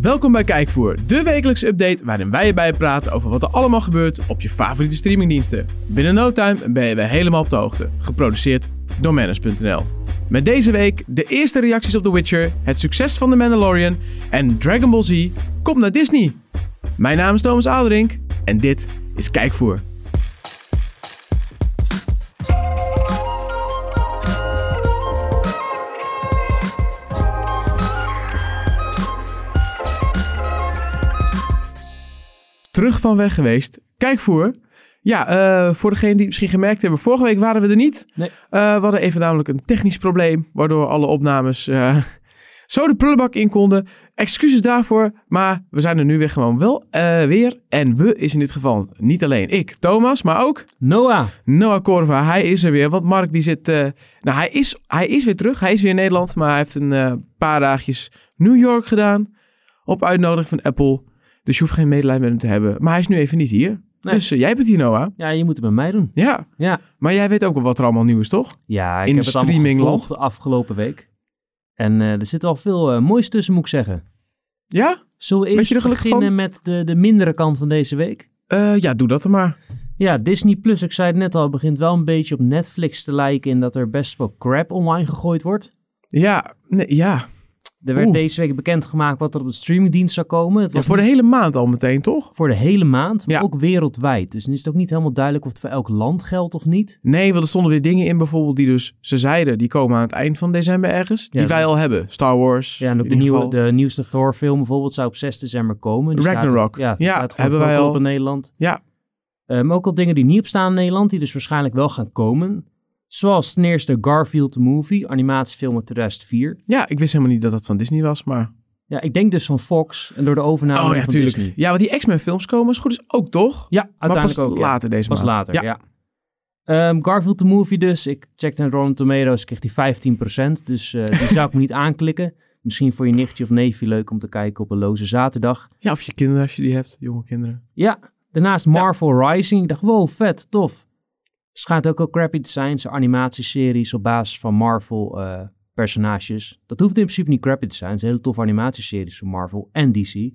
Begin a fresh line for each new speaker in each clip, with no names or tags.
Welkom bij Kijkvoer, de wekelijkse update waarin wij je bijpraten over wat er allemaal gebeurt op je favoriete streamingdiensten. Binnen no time ben je weer helemaal op de hoogte, geproduceerd door Manus.nl. Met deze week de eerste reacties op The Witcher, het succes van The Mandalorian en Dragon Ball Z komt naar Disney. Mijn naam is Thomas Aderink en dit is Kijkvoer. terug van weg geweest. Kijk voor. Ja, eh, voor degenen die het misschien gemerkt hebben, vorige week waren we er niet.
Nee.
Eh, we hadden even namelijk een technisch probleem, waardoor alle opnames eh, zo de prullenbak in konden. Excuses daarvoor, maar we zijn er nu weer gewoon wel eh, weer. En we is in dit geval niet alleen ik, Thomas, maar ook
Noah.
Noah Corva. Hij is er weer, want Mark die zit... eh, nou, hij is, hij is weer terug. Hij is weer in Nederland, maar hij heeft een eh, paar dagjes New York gedaan. Op uitnodiging van Apple. Dus je hoeft geen medelijden met hem te hebben. Maar hij is nu even niet hier.
Nee.
Dus eh, jij bent hier, Noah.
Ja, je moet het met mij doen.
Ja.
Ja.
Maar jij weet ook wel wat er allemaal nieuw is, toch?
Ja, ik
In
heb het allemaal
streamingland.
gevolgd de afgelopen week. En eh, er zit al veel eh, moois tussen, moet ik zeggen.
Ja?
Zullen we
Ben
eerst
je er gelukkig
beginnen
van?
met de, de mindere kant van deze week?
Eh, ja, doe dat dan maar.
Ja, Disney Plus, ik zei het net al, begint wel een beetje op Netflix te lijken in dat er best veel crap online gegooid wordt.
Ja. Nee, ja.
Er werd
Oeh.
deze week bekendgemaakt wat er op de streamingdienst zou komen. Het
ja.
was
Voor de hele maand al meteen, toch?
voor de hele maand, maar
Ja.
ook wereldwijd. Dus dan is het ook niet helemaal duidelijk of het voor elk land geldt of niet.
Nee, want er stonden weer dingen in bijvoorbeeld die dus... Ze zeiden, die komen aan het eind van december ergens. die
dat
wij al hebben. Star Wars.
Ja, en
in
ook de,
ieder geval.
nieuwe, de nieuwste Thor-film bijvoorbeeld zou op 6 december komen. Die staat-
Ragnarok.
ja, die
Ja,
staat gewoon
hebben wij
voorop
al.
in Nederland.
Ja.
Eh, maar ook al dingen die niet op staan in Nederland, die dus waarschijnlijk wel gaan komen. Zoals ten eerste Garfield the Movie, animatiefilm uit 2004.
Ja, ik wist helemaal niet dat dat van Disney was, maar...
Ja, ik denk dus van Fox en door de overname
oh ja,
van
tuurlijk.
Disney.
Ja, want die X-Men films komen is goed is ook, toch?
Ja, uiteindelijk
maar pas
ook. ja.
later deze
Pas
maand.
later,
Ja.
ja. Ehm, Garfield the Movie dus. Ik checkte in Rotten Tomatoes, kreeg die 15%. Dus eh, die zou ik me niet aanklikken. Misschien voor je nichtje of neefje leuk om te kijken op een loze zaterdag.
Ja, of je kinderen als je die hebt, jonge kinderen.
Ja, daarnaast Marvel Rising. Ik dacht, wow, vet, tof. Schijnt ook al crappy te zijn. Zijn animatieseries op basis van Marvel eh, personages. Dat hoeft in principe niet crappy te zijn. Het zijn hele toffe animatieseries van Marvel en DC.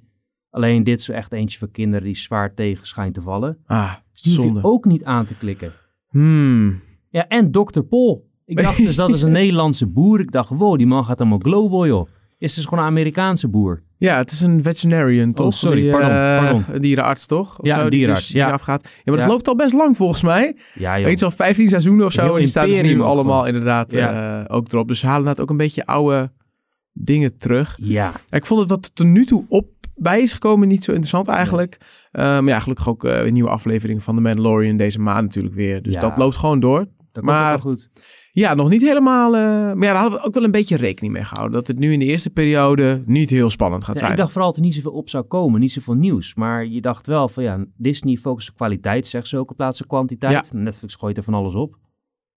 Alleen dit is echt eentje voor kinderen die zwaar tegen schijnt te vallen.
Ah,
Dus die hoef
zonde.
je ook niet aan te klikken.
Hmm.
Ja, en Dr. Pol. Ik dacht dus, dat is een Nederlandse boer. Ik dacht, wow, die man gaat allemaal global, joh. Is dus gewoon een Amerikaanse boer.
Ja, het is een veterinarian, toch?
Oh, sorry,
die, eh,
pardon,
Een dierenarts, toch? Of
Ja, een
die
dierenarts,
dus- die
ja.
eraf gaat. Ja, maar dat
Ja.
loopt al best lang volgens mij.
Ja, joh.
Iets al 15 seizoenen of zo.
Heel
en die staan dus nu
imperium ook
allemaal
gewoon.
inderdaad
Ja.
eh, ook erop. Dus ze halen inderdaad ook een beetje oude dingen terug.
Ja,
Ik vond het wat tot nu toe op bij is gekomen niet zo interessant eigenlijk. Eh, maar ja, gelukkig ook eh, een nieuwe aflevering van The Mandalorian deze maand natuurlijk weer. Dus
Ja.
dat loopt gewoon door.
dat komt
Maar-
ook wel goed.
Ja, nog niet helemaal. eh, maar ja, daar hadden we ook wel een beetje rekening mee gehouden. Dat het nu in de eerste periode niet heel spannend gaat
Ja,
zijn.
ik dacht vooral dat er niet zoveel op zou komen, niet zoveel nieuws. Maar je dacht wel van ja, Disney focust op kwaliteit, zegt ze ook, in plaats van kwantiteit. Netflix gooit er van alles op.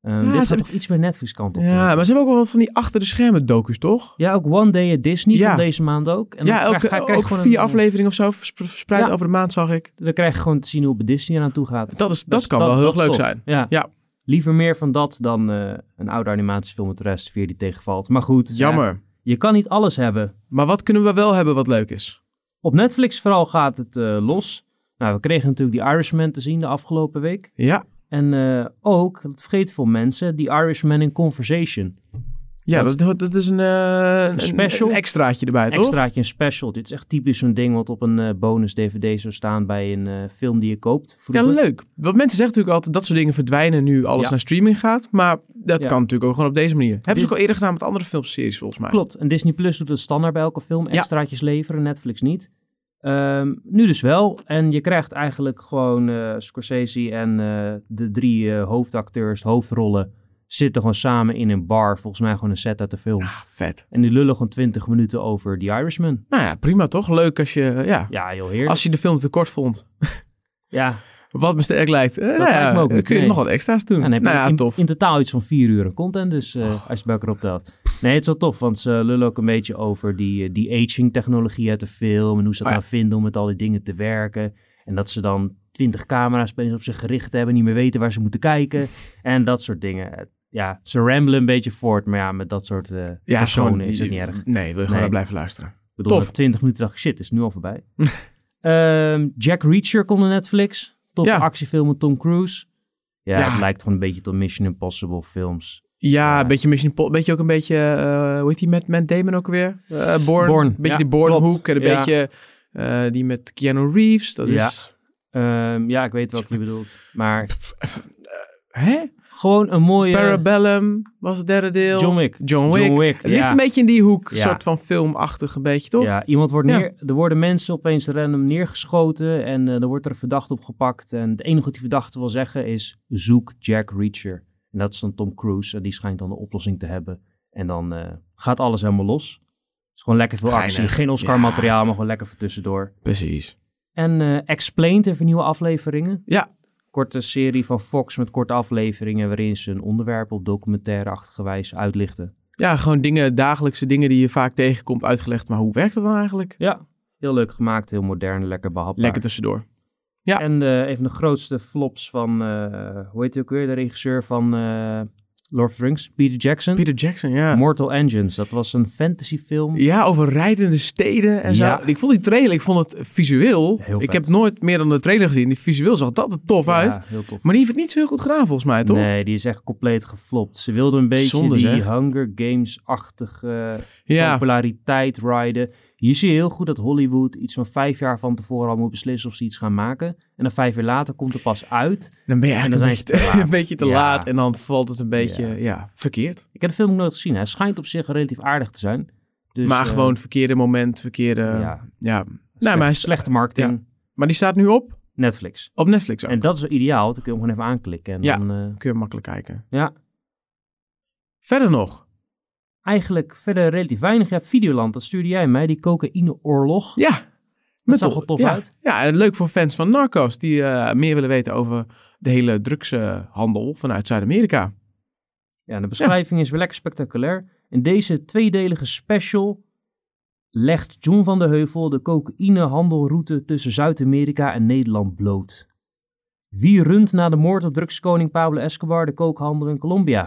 Ehm,
Ja,
dit gaat
ze-
toch iets meer Netflix kant op.
ja, maar ze hebben ook wel wat van die achter de schermen docus, toch?
Ja, ook One Day at Disney
Ja.
van deze maand ook. En
ja,
dan
ook,
krijg- krijg je
ook
gewoon
vier
een-
afleveringen of zo verspre- verspreid
Ja.
over de maand zag ik.
Dan krijg je gewoon te zien hoe het bij Disney eraan toe gaat.
Dat, is, dat, kan wel heel
dat is
leuk
tof.
zijn.
Ja.
Ja.
Liever meer van dat dan eh, een oude animatiefilm met de rest vier die tegenvalt. Maar goed,
Jammer.
ja, je kan niet alles hebben.
Maar wat kunnen we wel hebben wat leuk is?
Op Netflix vooral gaat het eh, los. Nou, we kregen natuurlijk die Irishman te zien de afgelopen week.
Ja,
En eh, ook, dat vergeten veel mensen, die Irishman in Conversation.
ja
Dat-
dat, dat, is een, eh, een,
special.
een extraatje erbij, toch?
Extraatje een special. Dit is echt typisch zo'n ding wat op een eh, bonus DVD zou staan bij een eh, film die je koopt.
Ja,
vroeger.
leuk. Want mensen zeggen natuurlijk altijd dat soort dingen verdwijnen nu alles
Ja.
naar streaming gaat. Maar dat
Ja.
kan natuurlijk ook gewoon op deze manier. Hebben ze
Dit-
ook al eerder gedaan met andere filmseries volgens mij.
Klopt. En Disney Plus doet het standaard bij elke film.
Ja.
Extraatjes leveren, Netflix niet. Ehm, nu dus wel. En je krijgt eigenlijk gewoon eh, Scorsese en eh, de drie eh, hoofdacteurs, hoofdrollen, zitten gewoon samen in een bar. Volgens mij gewoon een set uit de film.
Ah, vet.
En die lullen gewoon 20 minuten over The Irishman.
Nou ja, prima toch? Leuk als je, ja,
Ja, joh, heerlijk.
als je de film te kort vond.
Ja,
Wat me sterk lijkt. Eh, nou
lijkt
ja,
me ook
dan
niet,
kun je
nee.
nog wat extra's doen.
Ja, dan heb je
nou ja,
in,
tof. Oh.
in totaal iets van vier uur aan content, dus eh, als je het bij elkaar optelt. Nee, het is wel tof, want ze lullen ook een beetje over die, eh, die aging technologie uit de film en hoe ze dat
Oh ja.
nou vinden om met al die dingen te werken. En dat ze dan twintig camera's opeens op zich gericht hebben, niet meer weten waar ze moeten kijken en dat soort dingen. Eh, Ja, ze ramblen een beetje voort, maar ja, met dat soort eh,
ja,
personen
gewoon-
is het niet
Nee,
erg.
wil je gewoon
Nee.
naar blijven luisteren.
bedoel,
Tof.
na 20 minuten dacht ik, shit, is nu al voorbij. Ehm, Jack Reacher komt naar Netflix. Toffe
Ja.
actiefilm met Tom Cruise. Ja,
Ja.
het lijkt gewoon een beetje tot Mission Impossible films.
Ja,
Ja.
een beetje Mission Impossible. Beetje ook een beetje, eh, hoe heet die met Matt Damon ook weer? Eh Born.
Born,
Een beetje
ja,
die Born
klopt.
hoek. En een
Ja.
beetje eh, die met Keanu Reeves. Dat
Ja.
is...
Ehm, ja, ik weet wat je bedoelt. Maar
eh, Hè?
gewoon een mooie...
Parabellum was het derde deel.
John Wick.
John Wick.
John Wick,
Het
ja.
ligt een beetje in die hoek. Een
Ja.
soort van filmachtig een beetje, toch?
Ja, iemand wordt
Ja.
neer, er worden mensen opeens random neergeschoten en eh er wordt er een verdachte op gepakt. En het enige wat die verdachte wil zeggen is, zoek Jack Reacher. En dat is dan Tom Cruise en die schijnt dan de oplossing te hebben. En dan eh, gaat alles helemaal los. Het is gewoon lekker veel
Geinig.
actie, geen Oscar materiaal, maar gewoon lekker voor tussendoor.
Precies.
En eh, Explained heeft nieuwe afleveringen.
Ja.
Korte serie van Fox met korte afleveringen waarin ze een onderwerp op documentaire-achtige wijze uitlichten.
Ja, gewoon dingen, dagelijkse dingen die je vaak tegenkomt uitgelegd. Maar hoe werkt dat dan eigenlijk?
Ja, heel leuk gemaakt, heel modern, lekker behapbaar.
Lekker tussendoor. Ja.
En eh, een van de grootste flops van, eh, hoe heet hij ook weer, de regisseur van eh, Lord of the Rings, Peter Jackson.
Peter Jackson, ja.
Mortal Engines, dat was een fantasyfilm.
Ja, over rijdende steden en
Ja.
zo. Ik vond die trailer, ik vond het visueel.
Heel
ik
vet.
heb nooit meer dan de trailer gezien. Die visueel zag dat er tof uit.
Ja, heel tof.
Maar die heeft het niet zo heel goed gedaan volgens mij, toch?
Nee, die is echt compleet geflopt. Ze wilden een beetje
Zonde,
die
zeg.
Hunger Games-achtige eh,
ja,
populariteit rijden. Hier zie je heel goed dat Hollywood iets van vijf jaar van tevoren al moet beslissen of ze iets gaan maken. En dan vijf jaar later komt het pas uit.
dan ben je
En
eigenlijk
dan
een,
zijn
beetje
ze
te,
te laat.
een beetje te
Ja.
laat. En dan valt het een beetje ja. verkeerd.
Ik heb de film ook nooit gezien. Hij schijnt op zich relatief aardig te zijn. Dus,
maar
eh,
gewoon verkeerde moment, verkeerde... Ja.
ja,
Nou, maar, hij is-
slechte marketing.
maar die staat nu op,
Netflix.
op Netflix ook.
En dat is wel ideaal, want dan kun je hem gewoon even aanklikken. En
Ja.
dan, eh,
Kun je makkelijk kijken.
ja,
Verder nog.
eigenlijk verder relatief weinig. Ja, Videoland, dat stuurde jij mij, die cocaïneoorlog.
Ja. Met
zag
toch-
er tof
ja.
uit.
Ja, en leuk voor fans van Narcos die eh, meer willen weten over de hele drugshandel vanuit Zuid-Amerika.
Ja, de beschrijving is weer lekker spectaculair. In deze tweedelige special legt John van de Heuvel de cocaïnehandelroute tussen Zuid-Amerika en Nederland bloot. Wie runt na de moord op drugskoning Pablo Escobar de kookhandel in Colombia?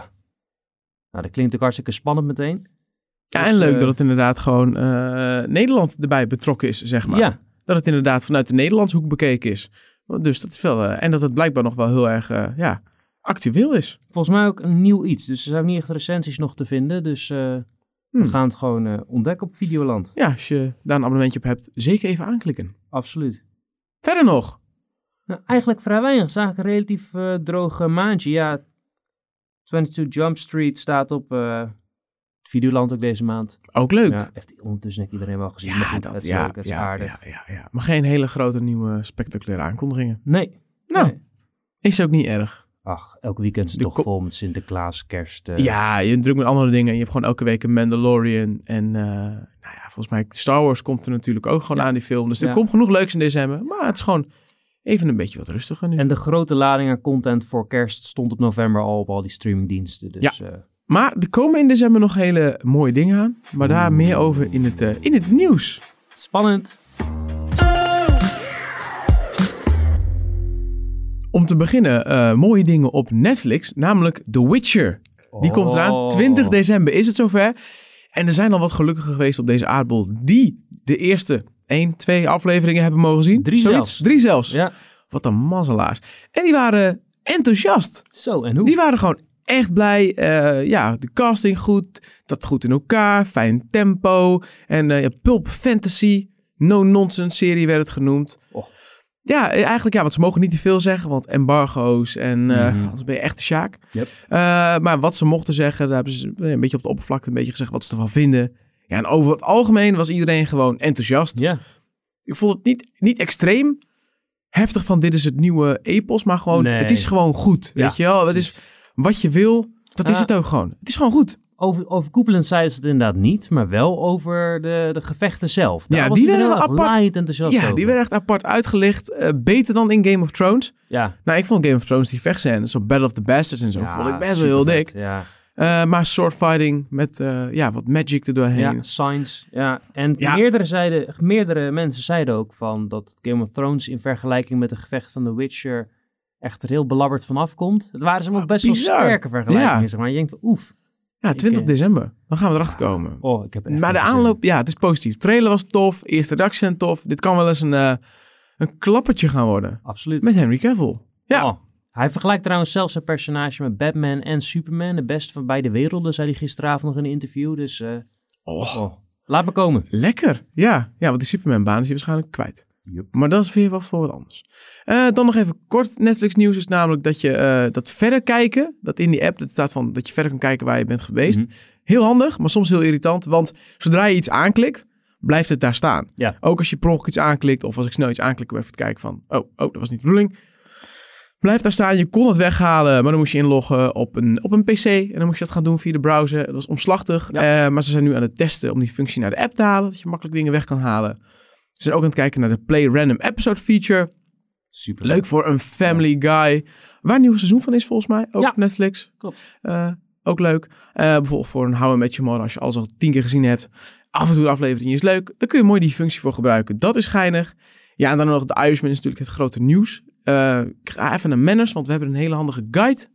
Nou, dat klinkt ook hartstikke spannend meteen.
Ja,
Dus,
en leuk
eh,
dat het inderdaad gewoon eh, Nederland erbij betrokken is, zeg maar.
Ja,
Dat het inderdaad vanuit de Nederlandse hoek bekeken is. Dus dat is wel, eh, en dat het blijkbaar nog wel heel erg eh, ja, actueel is.
volgens mij ook een nieuw iets. Dus er zijn niet echt recensies nog te vinden. Dus eh,
Hmm.
we gaan het gewoon eh, ontdekken op Videoland.
Ja, als je daar een abonnementje op hebt, zeker even aanklikken.
Absoluut.
Verder nog.
Nou, eigenlijk vrij weinig. Het is eigenlijk een relatief eh, droog eh, maandje. Ja, 22 Jump Street staat op eh, het Videoland ook deze maand.
Ook leuk.
Ja, heeft ondertussen denk ik iedereen wel gezien. maar goed, het is leuk, het is
ja,
aardig.
ja, ja, ja. Maar geen hele grote nieuwe spectaculaire aankondigingen.
Nee.
Nou,
Nee.
is ook niet erg.
Ach, elk weekend is het
de
toch
ko-
vol met Sinterklaas, kerst. eh,
Ja, je druk met andere dingen. Je hebt gewoon elke week een Mandalorian. En eh, nou ja, volgens mij Star Wars komt er natuurlijk ook gewoon aan die film. Dus er
Ja.
komt genoeg leuks in december. Maar het is gewoon even een beetje wat rustiger nu.
En de grote lading aan content voor kerst stond op november al op al die streamingdiensten. Dus ja.
Maar er komen in december nog hele mooie dingen aan. Maar daar meer over in het, eh, in het nieuws.
spannend.
Om te beginnen, eh, mooie dingen op Netflix. Namelijk The Witcher. Die komt eraan.
Oh.
20 december is het zover. En er zijn al wat gelukkigen geweest op deze aardbol. Die de eerste 1, 2 afleveringen hebben mogen zien.
Drie
Zoiets?
zelfs.
Drie zelfs.
Ja,
Wat een mazzelaars. En die waren enthousiast.
zo en hoe?
Die waren gewoon echt blij. Eh, ja, de casting goed. Dat goed in elkaar. Fijn tempo. En eh, ja, pulp fantasy. No-nonsense serie werd het genoemd.
Och.
Ja, eh, eigenlijk ja, want ze mogen niet te veel zeggen. Want embargo's en eh
Mhm.
anders ben je echt de sjaak.
Yep.
Eh, maar wat ze mochten zeggen, daar hebben ze een beetje op de oppervlakte een beetje gezegd wat ze ervan vinden. Ja, en over het algemeen was iedereen gewoon enthousiast.
Ja,
Ik vond het niet, niet extreem heftig van dit is het nieuwe epos, maar gewoon,
Nee.
het is gewoon goed.
Ja,
weet je wel, het is wat je wil, dat is
Ah.
het ook gewoon. Het is gewoon goed.
over, overkoepelend zeiden ze het inderdaad niet, maar wel over de, de gevechten zelf. Daar
Ja,
was
die
iedereen
werden
wel echt
apart-
laaiend enthousiast
ja,
over.
die werden echt apart uitgelicht. eh, beter dan in Game of Thrones.
Ja,
Nou, ik vond Game of Thrones die vechtscènes, zo Battle of the Bastards en zo,
ja,
vond ik best wel heel
supervet.
dik.
Ja,
Eh, maar swordfighting met eh, ja, wat magic er doorheen.
ja science. Ja. En
Ja.
Meerdere, zeiden, meerdere mensen zeiden ook van dat Game of Thrones in vergelijking met de gevecht van The Witcher echt er heel belabberd vanaf komt. Het waren ze ook best wel
bizar.
sterke vergelijkingen.
Ja.
Zeg maar je denkt, oef.
Ja, 20
eh,
december. Dan gaan we erachter komen.
Oh, ik heb echt
Maar de
geen zin.
aanloop, ja, het is positief. Trailer was tof, eerste reactie zijn tof. Dit kan wel eens een, eh, een klappertje gaan worden.
Absoluut.
Met Henry Cavill. Ja.
Oh. Hij vergelijkt trouwens zelfs zijn personage met Batman en Superman. De beste van beide werelden, zei hij gisteravond nog in een interview. Dus eh,
Och,
oh, laat me komen.
lekker. Ja. ja, want die Superman-baan is hij waarschijnlijk kwijt.
Yup.
Maar dat is weer wat voor wat anders. Eh, dan nog even kort Netflix-nieuws is namelijk dat je eh, dat verder kijken, dat in die app, dat staat van dat je verder kan kijken waar je bent geweest.
Mhm.
Heel handig, maar soms heel irritant, want zodra je iets aanklikt, blijft het daar staan.
Ja.
Ook als je per ongeluk iets aanklikt, of als ik snel iets aanklik om even te kijken van, oh, oh, dat was niet de bedoeling. Blijft daar staan, je kon het weghalen, maar dan moest je inloggen op een, op een pc. En dan moest je dat gaan doen via de browser. Dat was omslachtig, Eh, maar ze zijn nu aan het testen om die functie naar de app te halen, dat je makkelijk dingen weg kan halen. Ze zijn ook aan het kijken naar de Play Random Episode feature.
Super.
Leuk voor een Family Guy. Waar een nieuw seizoen van is volgens mij. Ook
Ja.
op Netflix.
Klopt.
Eh, ook leuk. Eh, bijvoorbeeld voor een How I Met Your Mother. Als je alles al tien keer gezien hebt. Af en toe een aflevering is leuk. Dan kun je mooi die functie voor gebruiken. Dat is geinig. Ja, en dan nog de Irishman is natuurlijk het grote nieuws. Eh, ik ga even naar Manners, want we hebben een hele handige guide.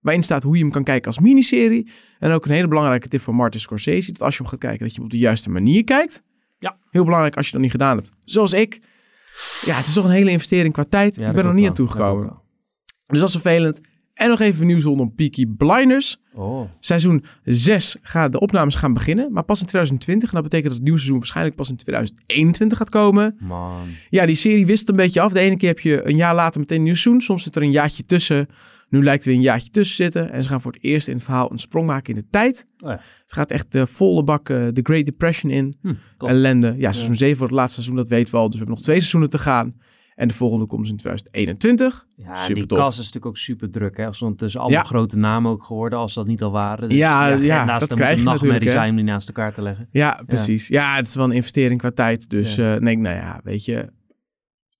Waarin staat hoe je hem kan kijken als miniserie. En ook een hele belangrijke tip van Martin Scorsese. Dat als je hem gaat kijken, dat je hem op de juiste manier kijkt.
Ja.
Heel belangrijk als je dat niet gedaan hebt. Zoals ik. Ja, het is toch een hele investering qua tijd.
Ja,
ik
dat
ben er
klopt
niet
wel.
aan toegekomen.
Dat klopt
Dus dat is vervelend. En nog even nieuws rondom Peaky Blinders.
wel. Oh.
Seizoen 6 gaat de opnames gaan beginnen, maar pas in 2020. En dat betekent dat het nieuwe seizoen waarschijnlijk pas in 2021 gaat komen.
Man.
Ja, die serie wist een beetje af. De ene keer heb je een jaar later meteen een nieuw seizoen. Soms zit er een jaartje tussen. Nu lijkt er weer een jaartje tussen zitten. En ze gaan voor het eerst in het verhaal een sprong maken in de tijd.
Oh ja.
Het gaat echt de volle bak eh, de Great Depression in.
Hm, cool.
Ellende. Ja, seizoen 7 wordt het laatste seizoen, dat weten we al. Dus we hebben nog twee seizoenen te gaan. En de volgende komt dus in 2021.
Ja, en
Super
die
tof.
kast is natuurlijk ook super druk. Hè? Als ondertussen allemaal
Ja.
grote namen ook geworden, als dat niet al waren. Dus,
Ja, ja,
naast
dat krijg je
dan moet een nachtmerrie
natuurlijk, hè.
zijn om die naast elkaar te leggen.
Ja, precies. Ja. het is wel een investering qua tijd. Dus eh, nee, nou ja, weet je.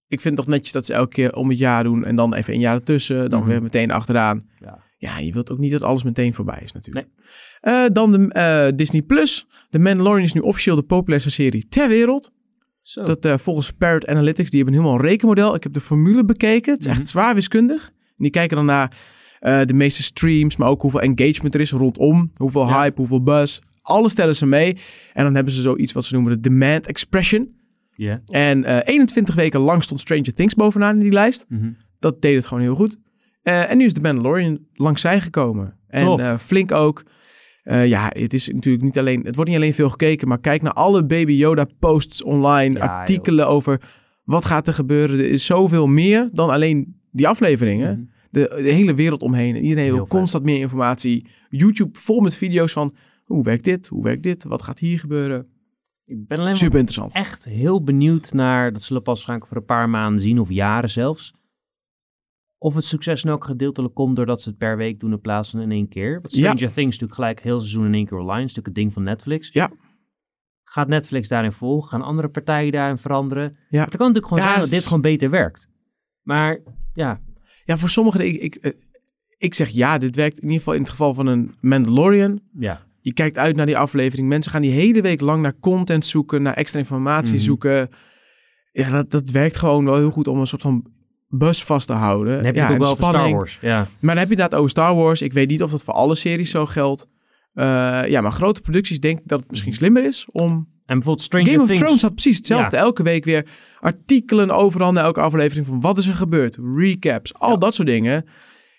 Ik vind het toch netjes dat ze elke keer om het jaar doen en dan even een jaar ertussen. Dan
Mhm.
weer meteen achteraan.
Ja.
Ja, je wilt ook niet dat alles meteen voorbij is natuurlijk. Eh, dan de, eh, Disney Plus. The Mandalorian is nu officieel de populairste serie ter wereld.
Zo.
Dat eh, volgens Parrot Analytics, die hebben een helemaal rekenmodel. Ik heb de formule bekeken. Het is echt zwaar wiskundig. En die kijken dan naar eh, de meeste streams, maar ook hoeveel engagement er is rondom. Hoeveel
Ja.
hype, hoeveel buzz. Alles tellen ze mee. En dan hebben ze zoiets wat ze noemen de demand expression.
Ja.
En eh, 21 weken lang stond Stranger Things bovenaan in die lijst.
Mhm.
Dat deed het gewoon heel goed. Eh, en nu is de Mandalorian langs zij gekomen. En
Tof.
eh, flink ook. Eh, ja, het is natuurlijk niet alleen. Het wordt niet alleen veel gekeken, maar kijk naar alle Baby Yoda posts online,
Ja, joh.
artikelen over wat gaat er gebeuren. Er is zoveel meer dan alleen die afleveringen.
Mhm.
De, de hele wereld omheen. En iedereen wil
Heel vet.
constant meer informatie. YouTube vol met video's van hoe werkt dit, hoe werkt dit, wat gaat hier gebeuren.
Ik ben alleen maar
Super interessant.
echt heel benieuwd naar, dat zullen we pas waarschijnlijk voor een paar maanden zien, of jaren zelfs. Of het succes nou ook gedeeltelijk komt doordat ze het per week doen in plaats van in één keer. Want Stranger Things is natuurlijk gelijk heel seizoen in één keer online. is natuurlijk het ding van Netflix.
Ja.
Gaat Netflix daarin volgen? Gaan andere partijen daarin veranderen?
Ja.
Het kan natuurlijk gewoon
Ja,
zijn dat
het is-
dit gewoon beter werkt. Maar ja,
Ja, voor sommigen, ik, ik, eh, ik zeg ja, dit werkt in ieder geval in het geval van een Mandalorian.
ja.
Je kijkt uit naar die aflevering. Mensen gaan die hele week lang naar content zoeken, naar extra informatie
Mhm.
zoeken. Ja, dat, dat werkt gewoon wel heel goed om een soort van bus vast te houden.
Dan heb je
ja,
het ook
en
wel over Star
spanning.
Wars. Ja.
Maar dan heb je inderdaad over Star Wars. Ik weet niet of dat voor alle series zo geldt. Eh, ja, maar grote producties denk ik dat het misschien slimmer is om...
En bijvoorbeeld Mhm. Stranger
Game of
Things.
Thrones had precies hetzelfde. Elke week weer artikelen overal na elke aflevering van wat is er gebeurd. Recaps, al dat soort dingen.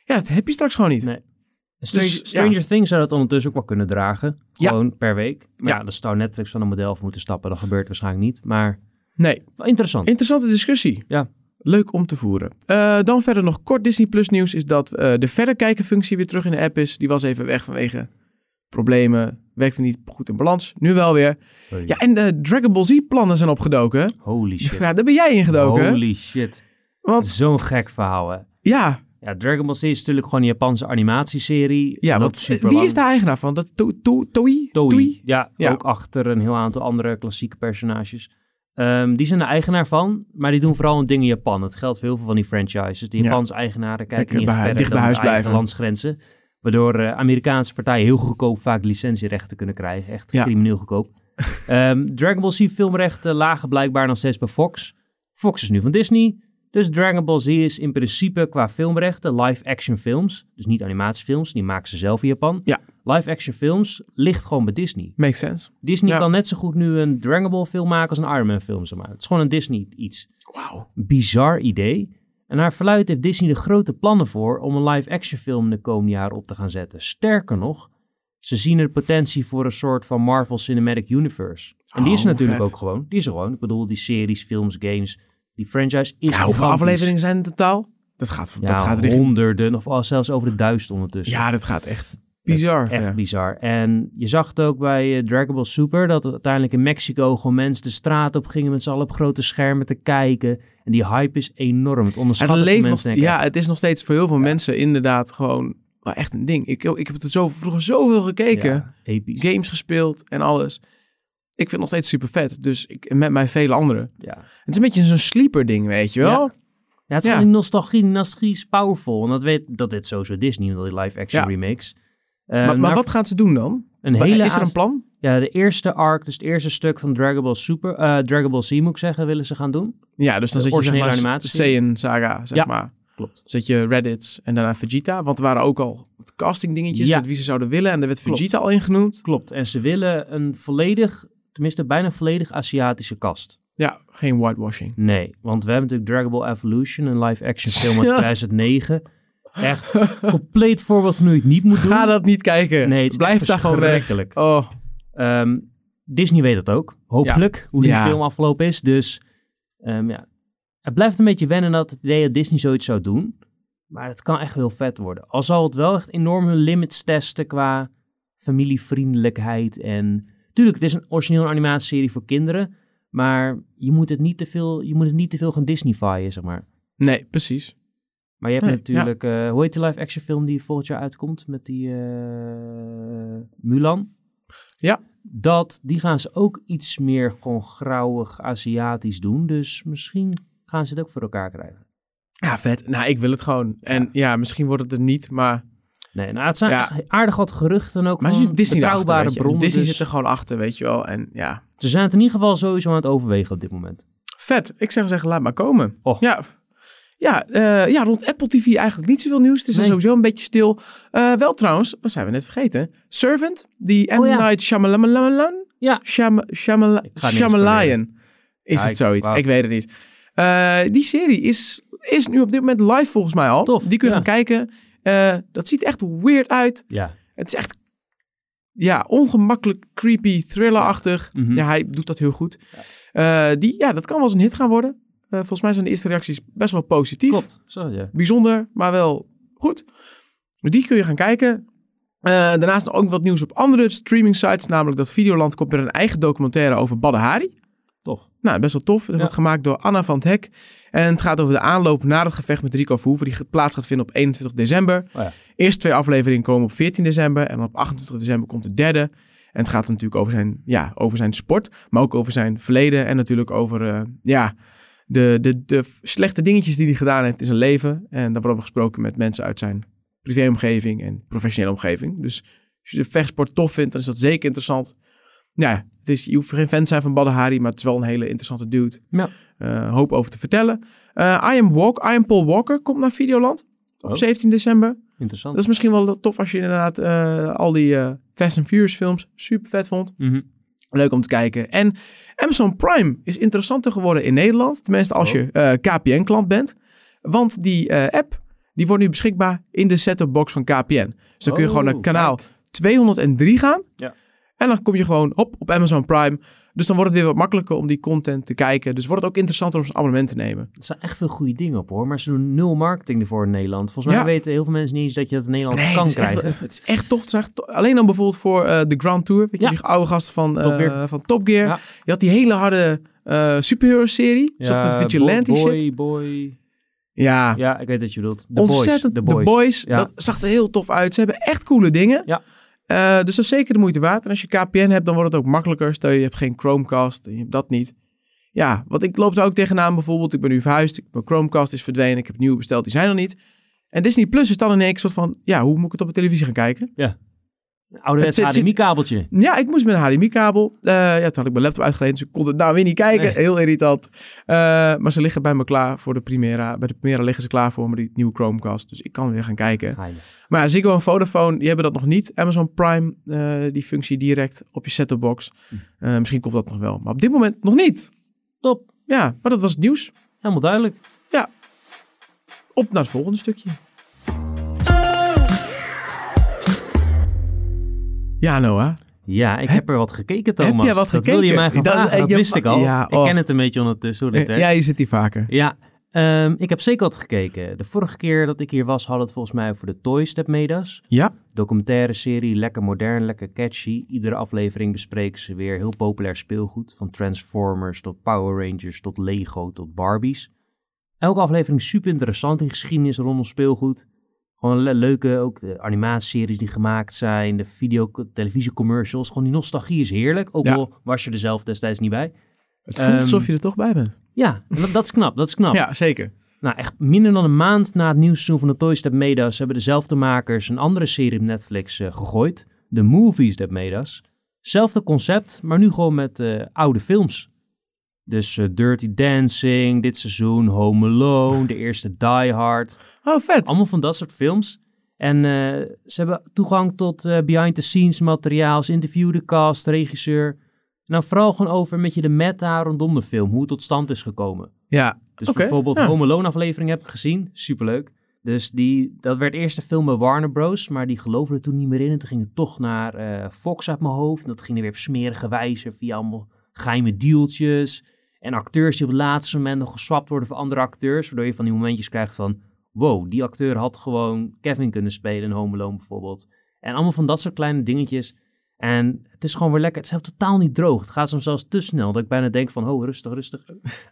Ja, dat heb je straks gewoon niet.
Nee. Stranger,
Dus, ja.
Stranger Things zou dat ondertussen ook wel kunnen dragen.
Ja.
Gewoon per week. Maar
Ja.
ja, dat zou Netflix van een model af moeten stappen. Dat gebeurt waarschijnlijk niet. Maar
nee.
wel interessant.
Interessante discussie.
Ja.
Leuk om te voeren. Eh, dan verder nog kort Disney Plus nieuws is dat eh, de verderkijken functie weer terug in de app is. Die was even weg vanwege problemen. Werkte niet goed in balans. Nu wel weer.
Hey.
Ja, en de Dragon Ball Z plannen zijn opgedoken.
Holy shit.
Ja, daar ben jij in gedoken.
Holy shit.
Want
Zo'n gek verhaal, hè.
ja,
Ja, Dragon Ball Z is natuurlijk gewoon een Japanse animatieserie.
ja
En
want,
dat
eh,
superlang.
wie is de eigenaar van? Dat to, to, Toei?
Toei.
Toei?
Ja,
Ja.
ook achter een heel aantal andere klassieke personages. Ehm, die zijn de eigenaar van, maar die doen vooral een ding in Japan. Het geldt voor heel veel van die franchises. Die
Ja.
Japanse eigenaren kijken
Lekker
niet
bij-
echt verder
dicht bij
dan
huis
de eigen
blijven.
landsgrenzen. Waardoor eh, Amerikaanse partijen heel goedkoop vaak licentierechten kunnen krijgen. Echt
Ja.
crimineel goedkoop. Ehm, Dragon Ball Z filmrechten lagen blijkbaar nog steeds bij Fox. Fox is nu van Disney. Dus Dragon Ball Z is in principe qua filmrechten live-action films. Dus niet animatiefilms, die maken ze zelf in Japan.
Ja.
live-action films ligt gewoon bij Disney.
Makes sense.
Disney
Ja.
kan net zo goed nu een Dragon Ball film maken als een Iron Man film. Zeg maar. Het is gewoon een Disney iets.
Wauw.
Bizar idee. En naar verluidt heeft Disney de grote plannen voor om een live-action film de komende jaren op te gaan zetten. Sterker nog, ze zien er potentie voor een soort van Marvel Cinematic Universe. En die is
Oh,
natuurlijk
vet.
ook gewoon. Die is er gewoon. Ik bedoel, die series, films, games. Die franchise
Ja,
is
Nou, hoeveel
gigantisch.
afleveringen zijn in totaal? Dat gaat,
Ja,
dat gaat richting...
honderden of al zelfs over de duizend ondertussen.
Ja, dat gaat echt bizar.
Echt
ja.
bizar. En je zag het ook bij eh, Dragon Ball Super, dat er uiteindelijk in Mexico gewoon mensen de straat op gingen met z'n allen op grote schermen te kijken. En die hype is enorm. Het
Het
onderschatten van
leeft nog,
mensen. denk ik
ja,
echt.
het is nog steeds voor heel veel mensen inderdaad gewoon wel echt een ding. Ik, ik heb het er zo, vroeger zoveel gekeken,
Ja, episch.
games gespeeld en alles. Ik vind het nog steeds super vet, dus ik, en met mij vele anderen.
ja. ja,
Het is een beetje zo'n sleeper ding, weet je wel?
het is
Ja.
gewoon die nostalgie. Nostalgie is powerful. En dat weet, dat dit sowieso Disney, want die live action
Ja.
remakes. Eh,
maar maar
naar-
wat gaan ze doen dan?
een hele
is er een
aans-
plan?
Ja, de eerste arc, dus het eerste stuk van Dragon Ball Super, eh, Dragon Ball Z moet ik zeggen, willen ze gaan doen.
Ja, dus dan zet je
De
zeg
Eh, originele
maar
animatie.
Saiyan Saga, zeg
Ja.
maar.
Klopt.
Zet je Reddits en daarna Vegeta. Want er waren ook al casting dingetjes
Ja.
met wie ze zouden willen. En daar werd
Klopt.
Vegeta al ingenoemd.
Klopt. En ze willen een volledig, tenminste bijna volledig Aziatische kast.
Ja, geen whitewashing.
Nee, want we hebben natuurlijk Dragon Ball Evolution, een live-action film uit
Ja.
2009. Echt compleet voorbeeld van hoe je het niet moet doen.
Ga dat niet kijken.
Nee, het is
Blijf
echt
daar gewoon weg.
verschrikkelijk.
Oh,
Ehm, Disney weet dat ook, hopelijk, hoe die
Ja.
film afgelopen is. Dus ehm, ja, het blijft een beetje wennen dat het idee dat Disney zoiets zou doen. Maar het kan echt heel vet worden. Al zal het wel echt enorm hun limits testen qua familievriendelijkheid. En tuurlijk, het is een origineel animatieserie voor kinderen. Maar je moet het niet te veel, je moet het niet te veel gaan Disneyfyen, zeg maar.
nee, precies.
Maar je hebt
Nee,
natuurlijk, eh, hoe heet die live-action film die volgend jaar uitkomt met die eh, Mulan?
Ja.
Dat, die gaan ze ook iets meer gewoon grauwig Aziatisch doen. Dus misschien gaan ze het ook voor elkaar krijgen.
Ja, vet. Nou, ik wil het gewoon. En ja, misschien wordt het er niet, maar...
Nee, nou, het zijn
Ja.
echt aardig wat geruchten ook
Maar er
van
zit Disney erachter,
betrouwbare
weet je.
bronnen.
Disney
dus
zit er gewoon achter, weet je wel. En ja,
Ze zijn het in ieder geval sowieso aan het overwegen op dit moment.
vet. Ik zou zeggen, laat maar komen.
Och.
Ja. Ja, eh, ja, rond Apple TV eigenlijk niet zoveel nieuws. Het is
Nee.
sowieso een beetje stil. Eh, wel trouwens, wat zijn we net vergeten? Servant, die M.
Oh ja.
Night Shyamalan...
Ja.
Shama, Shyamala-
Ik ga het niet eens
Shyamalan. Is
Ja,
het
ik-
zoiets?
wauw.
Ik weet het niet. Eh, die serie is, is nu op dit moment live volgens mij al.
Tof,
die kun je
ja.
gaan kijken. Eh, dat ziet echt weird uit.
Ja.
Het is echt ja, ongemakkelijk creepy, thrillerachtig. Ja.
Mhm.
hij doet dat heel goed. Eh, die, ja, dat kan wel eens een hit gaan worden. Eh, volgens mij zijn de eerste reacties best wel positief.
Klopt. Zo, ja.
Bijzonder, maar wel goed. Die kun je gaan kijken. Eh, daarnaast ook wat nieuws op andere streaming sites. Namelijk dat Videoland komt met een eigen documentaire over Badahari.
Tof.
Nou, best wel tof. Dat
Ja.
wordt gemaakt door Anna van het Hek. En het gaat over de aanloop naar het gevecht met Rico Verhoeven. Die ge- plaats gaat vinden op 21 december.
Oh ja.
Eerst twee afleveringen komen op 14 december. En dan op 28 december komt de derde. En het gaat natuurlijk over zijn, ja, over zijn sport. Maar ook over zijn verleden. En natuurlijk over eh, ja, de, de, de f- slechte dingetjes die hij gedaan heeft in zijn leven. En daar wordt over gesproken met mensen uit zijn privéomgeving en professionele omgeving. Dus als je de vechtsport tof vindt, dan is dat zeker interessant. Ja, het is, je hoeft geen fan te zijn van Badahari, maar het is wel een hele interessante dude.
Ja.
Eh, hoop over te vertellen. Eh, I, am Walk, I am Paul Walker komt naar Videoland op
Oh. 17.
17 december.
Interessant.
Dat is misschien wel tof als je inderdaad eh, al die eh, Fast and Furious films super vet vond.
Mhm.
Leuk om te kijken. En Amazon Prime is interessanter geworden in Nederland. Tenminste, als
Oh.
je eh, KPN-klant bent. Want die eh, app die wordt nu beschikbaar in de set-top-box van KPN. Dus dan kun je
Oh,
gewoon naar kanaal
kijk.
203 gaan.
Ja.
En dan kom je gewoon op, op Amazon Prime. Dus dan wordt het weer wat makkelijker om die content te kijken. Dus wordt het ook interessanter om een abonnement te nemen.
Er staan echt veel goede dingen op hoor, maar ze doen nul marketing ervoor in Nederland. Volgens mij
Ja.
weten heel veel mensen niet eens dat je dat in Nederland
het
kan
is, echt,
krijgen.
het is echt tof. Het is echt to- Alleen dan bijvoorbeeld voor eh, de Grand Tour. Weet je,
Ja.
die oude gasten van eh,
Top Gear.
van Top Gear.
Ja.
Je had die hele harde eh superhero-serie. Zat met vigilante
boy,
shit.
Boy, boy.
Ja,
Ja, ik weet wat je bedoelt. De
ontzettend.
boys. De
The
boys. Ja.
Dat zag er heel tof uit. Ze hebben echt coole dingen.
Ja.
Eh, dus dat is zeker de moeite waard. En als je KPN hebt, dan wordt het ook makkelijker. Stel je hebt geen Chromecast en je hebt dat niet. Ja, want ik loop daar ook tegenaan bijvoorbeeld. Ik ben nu verhuisd, ik- mijn Chromecast is verdwenen, ik heb nieuw besteld, die zijn er niet. En Disney Plus is dan in één keer soort van, ja, hoe moet ik het op de televisie gaan kijken?
Ja. Een ouderwets
Het zit- zit-
HDMI-kabeltje.
Ja, ik moest met een HDMI-kabel. Eh, ja, toen had ik mijn laptop uitgeleend, dus ik kon het nou weer niet kijken.
Nee.
Heel irritant. Eh, maar ze liggen bij me klaar voor de Primera. Bij de Primera liggen ze klaar voor me, die nieuwe Chromecast. Dus ik kan weer gaan kijken.
Heilig.
Maar ja, Ziggo en Vodafone, die hebben dat nog niet. Amazon Prime, eh, die functie direct op je set-topbox.
Hm.
Eh, misschien komt dat nog wel, maar op dit moment nog niet.
Top.
Ja, maar dat was het nieuws.
Helemaal duidelijk.
Op naar het volgende stukje. Ja, Noah.
Ja, ik heb er wat gekeken, Thomas.
heb jij wat
dat wilde je
gekeken?
mij gaan
Dat-
vragen, dat
ja,
wist ik al.
ja,
Ik
oh. Eh,
ken het een beetje ondertussen, hoe dat werkt.
Ja, je zit hier vaker.
Ja, ehm, ik heb zeker wat gekeken. De vorige keer dat ik hier was, hadden we het volgens mij over de Toy Step Medas.
Ja,
Documentaire serie, lekker modern, lekker catchy. Iedere aflevering bespreken ze weer heel populair speelgoed. Van Transformers tot Power Rangers tot Lego tot Barbies. Elke aflevering super interessant in geschiedenis rondom speelgoed. Gewoon le- leuke, ook de animatieseries die gemaakt zijn, de video, televisiecommercials. Gewoon die nostalgie is heerlijk, ook
Ja.
al was je er zelf destijds niet bij.
het voelt
Ehm,
alsof je er toch bij bent.
Ja, en dat, dat is knap, dat is knap.
Ja, zeker.
Nou, echt minder dan een maand na het nieuwsseizoen van de Toys That Made Us hebben dezelfde makers een andere serie op Netflix eh, gegooid. The Movies That Made Us. Zelfde concept, maar nu gewoon met eh, oude films. Dus eh, Dirty Dancing, dit seizoen Home Alone, de eerste Die Hard.
Oh, vet.
Allemaal van dat soort films. En eh, ze hebben toegang tot eh, behind-the-scenes materiaal. Ze interviewen de cast, regisseur. Nou, vooral gewoon over met je de meta rondom de film. Hoe het tot stand is gekomen.
Ja,
Dus
Oké, nou.
bijvoorbeeld
ja.
Home Alone aflevering heb ik gezien. Superleuk. Dus die, dat werd eerst een film bij Warner Bros. Maar die geloofden er toen niet meer in. En toen ging het toch naar eh, Fox uit mijn hoofd. En dat ging er weer op smerige wijze via allemaal geheime dealtjes. En acteurs die op het laatste moment nog geswapt worden voor andere acteurs. Waardoor je van die momentjes krijgt van... Wow, die acteur had gewoon Kevin kunnen spelen in Home Alone bijvoorbeeld. En allemaal van dat soort kleine dingetjes. En het is gewoon weer lekker. Het is helemaal totaal niet droog. Het gaat soms zelfs te snel. Dat ik bijna denk van, oh, rustig, rustig.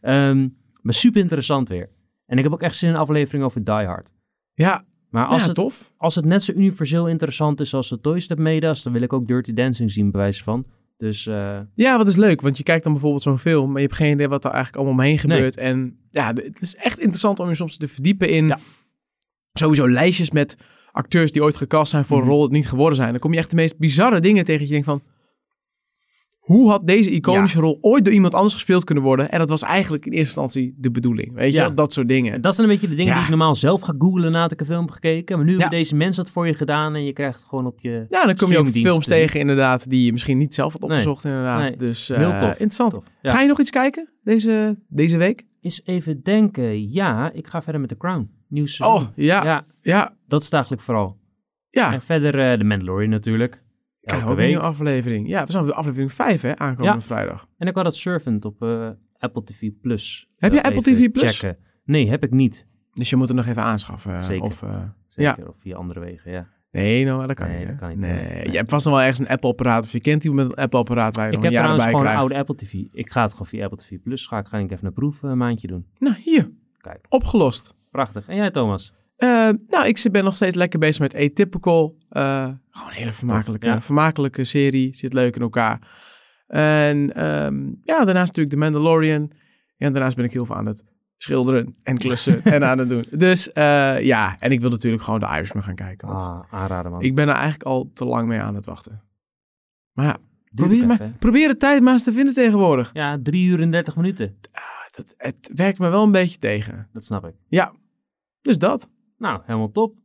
Ehm, maar super interessant weer. En ik heb ook echt zin in een aflevering over Die Hard.
ja.
Maar als,
ja,
het,
tof.
als het net zo universeel interessant is als de Toy Step Medas, dan wil ik ook Dirty Dancing zien, bij wijze van. Dus eh,
Ja, wat is leuk, want je kijkt dan bijvoorbeeld zo'n film, maar je hebt geen idee wat er eigenlijk allemaal omheen gebeurt. En ja, d- het is echt interessant om je soms te verdiepen in
Ja.
sowieso lijstjes met acteurs die ooit gecast zijn voor
Mhm.
een rol het niet geworden zijn. Dan kom je echt de meest bizarre dingen tegen dat je denkt van, hoe had deze iconische rol ooit door iemand anders gespeeld kunnen worden? En dat was eigenlijk in eerste instantie de bedoeling, weet je,
Ja.
wel? dat soort dingen.
dat zijn een beetje de dingen
Ja.
die ik normaal zelf ga googlen nadat ik een film heb gekeken. Maar nu hebben
Ja.
deze mensen dat voor je gedaan en je krijgt het gewoon op je...
Ja, dan kom je ook
Streamingdiensten
films
te zien.
tegen inderdaad die je misschien niet zelf had
Nee.
opgezocht inderdaad.
Nee.
Dus eh,
Heel tof.
interessant.
Tof. Ja.
Ga je nog iets kijken deze, deze week?
Eens even denken. Ja, ik ga verder met The Crown. Nieuw seizoen.
Oh, ja, ja.
Ja, dat is het eigenlijk vooral.
ja.
En verder eh The Mandalorian natuurlijk.
Krijgen
Elke
we ook een
week.
nieuwe aflevering. Ja, we zijn op de aflevering 5 hè, aankomende
Ja.
vrijdag.
En ik had dat Servant op eh, Apple TV+. Plus.
Heb je
Dat
Apple
even
TV+?
Checken. Nee, heb ik niet.
Dus je moet het nog even aanschaffen. eh,
Zeker.
Of, eh,
Zeker, of via andere wegen, ja.
nee, nou, dat kan
Nee,
niet. hè?
dat kan niet,
nee.
nee.
Je hebt vast nog wel ergens een Apple-apparaat. Of je kent iemand met een Apple-apparaat waar je
Ik
nog
heb
een jaar
trouwens
bij
gewoon een
krijgt.
oude Apple TV. Ik ga het gewoon via Apple TV Plus. Ga ik, ga ik even een proef eh, maandje doen.
Nou, hier.
Kijk.
Opgelost.
Prachtig. En jij, Thomas?
Eh, nou, ik zit- ben nog steeds lekker bezig met Atypical. Eh, gewoon een hele vermakelijke,
Tof, ja.
vermakelijke serie. Zit leuk in elkaar. En ehm, ja, daarnaast natuurlijk The Mandalorian. En daarnaast ben ik heel veel aan het schilderen en klussen en aan het doen. Dus eh, ja, en ik wil natuurlijk gewoon de Irishman gaan kijken. want
Ah, aanraden, man.
Ik ben er eigenlijk al te lang mee aan het wachten. Maar ja,
Duurt
probeer,
het
maar,
even, hè?
probeer de tijd maar eens te vinden tegenwoordig.
Ja, 3 uur en 30 minuten.
Het, het werkt me wel een beetje tegen.
Dat snap ik.
Ja, dus dat.
Nou, helemaal top.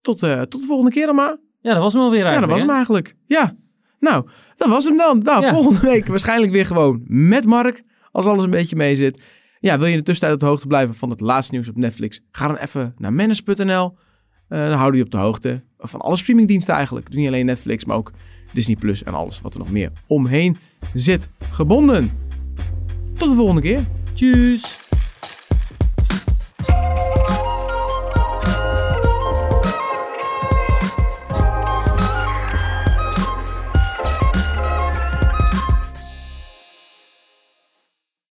Tot, eh, tot de volgende keer dan maar.
Ja, dat was hem alweer
Ja, dat
eigenlijk.
was hem
hè?
eigenlijk. Ja. Nou, dat was hem dan. Nou,
Ja.
volgende week waarschijnlijk weer gewoon met Mark. Als alles een beetje mee zit. Ja, wil je in de tussentijd op de hoogte blijven van het laatste nieuws op Netflix? Ga dan even naar manage.nl. Eh, dan houden we je op de hoogte van alle streamingdiensten eigenlijk. Dus niet alleen Netflix, maar ook Disney Plus en alles wat er nog meer omheen zit gebonden. Tot de volgende keer.
Tjus.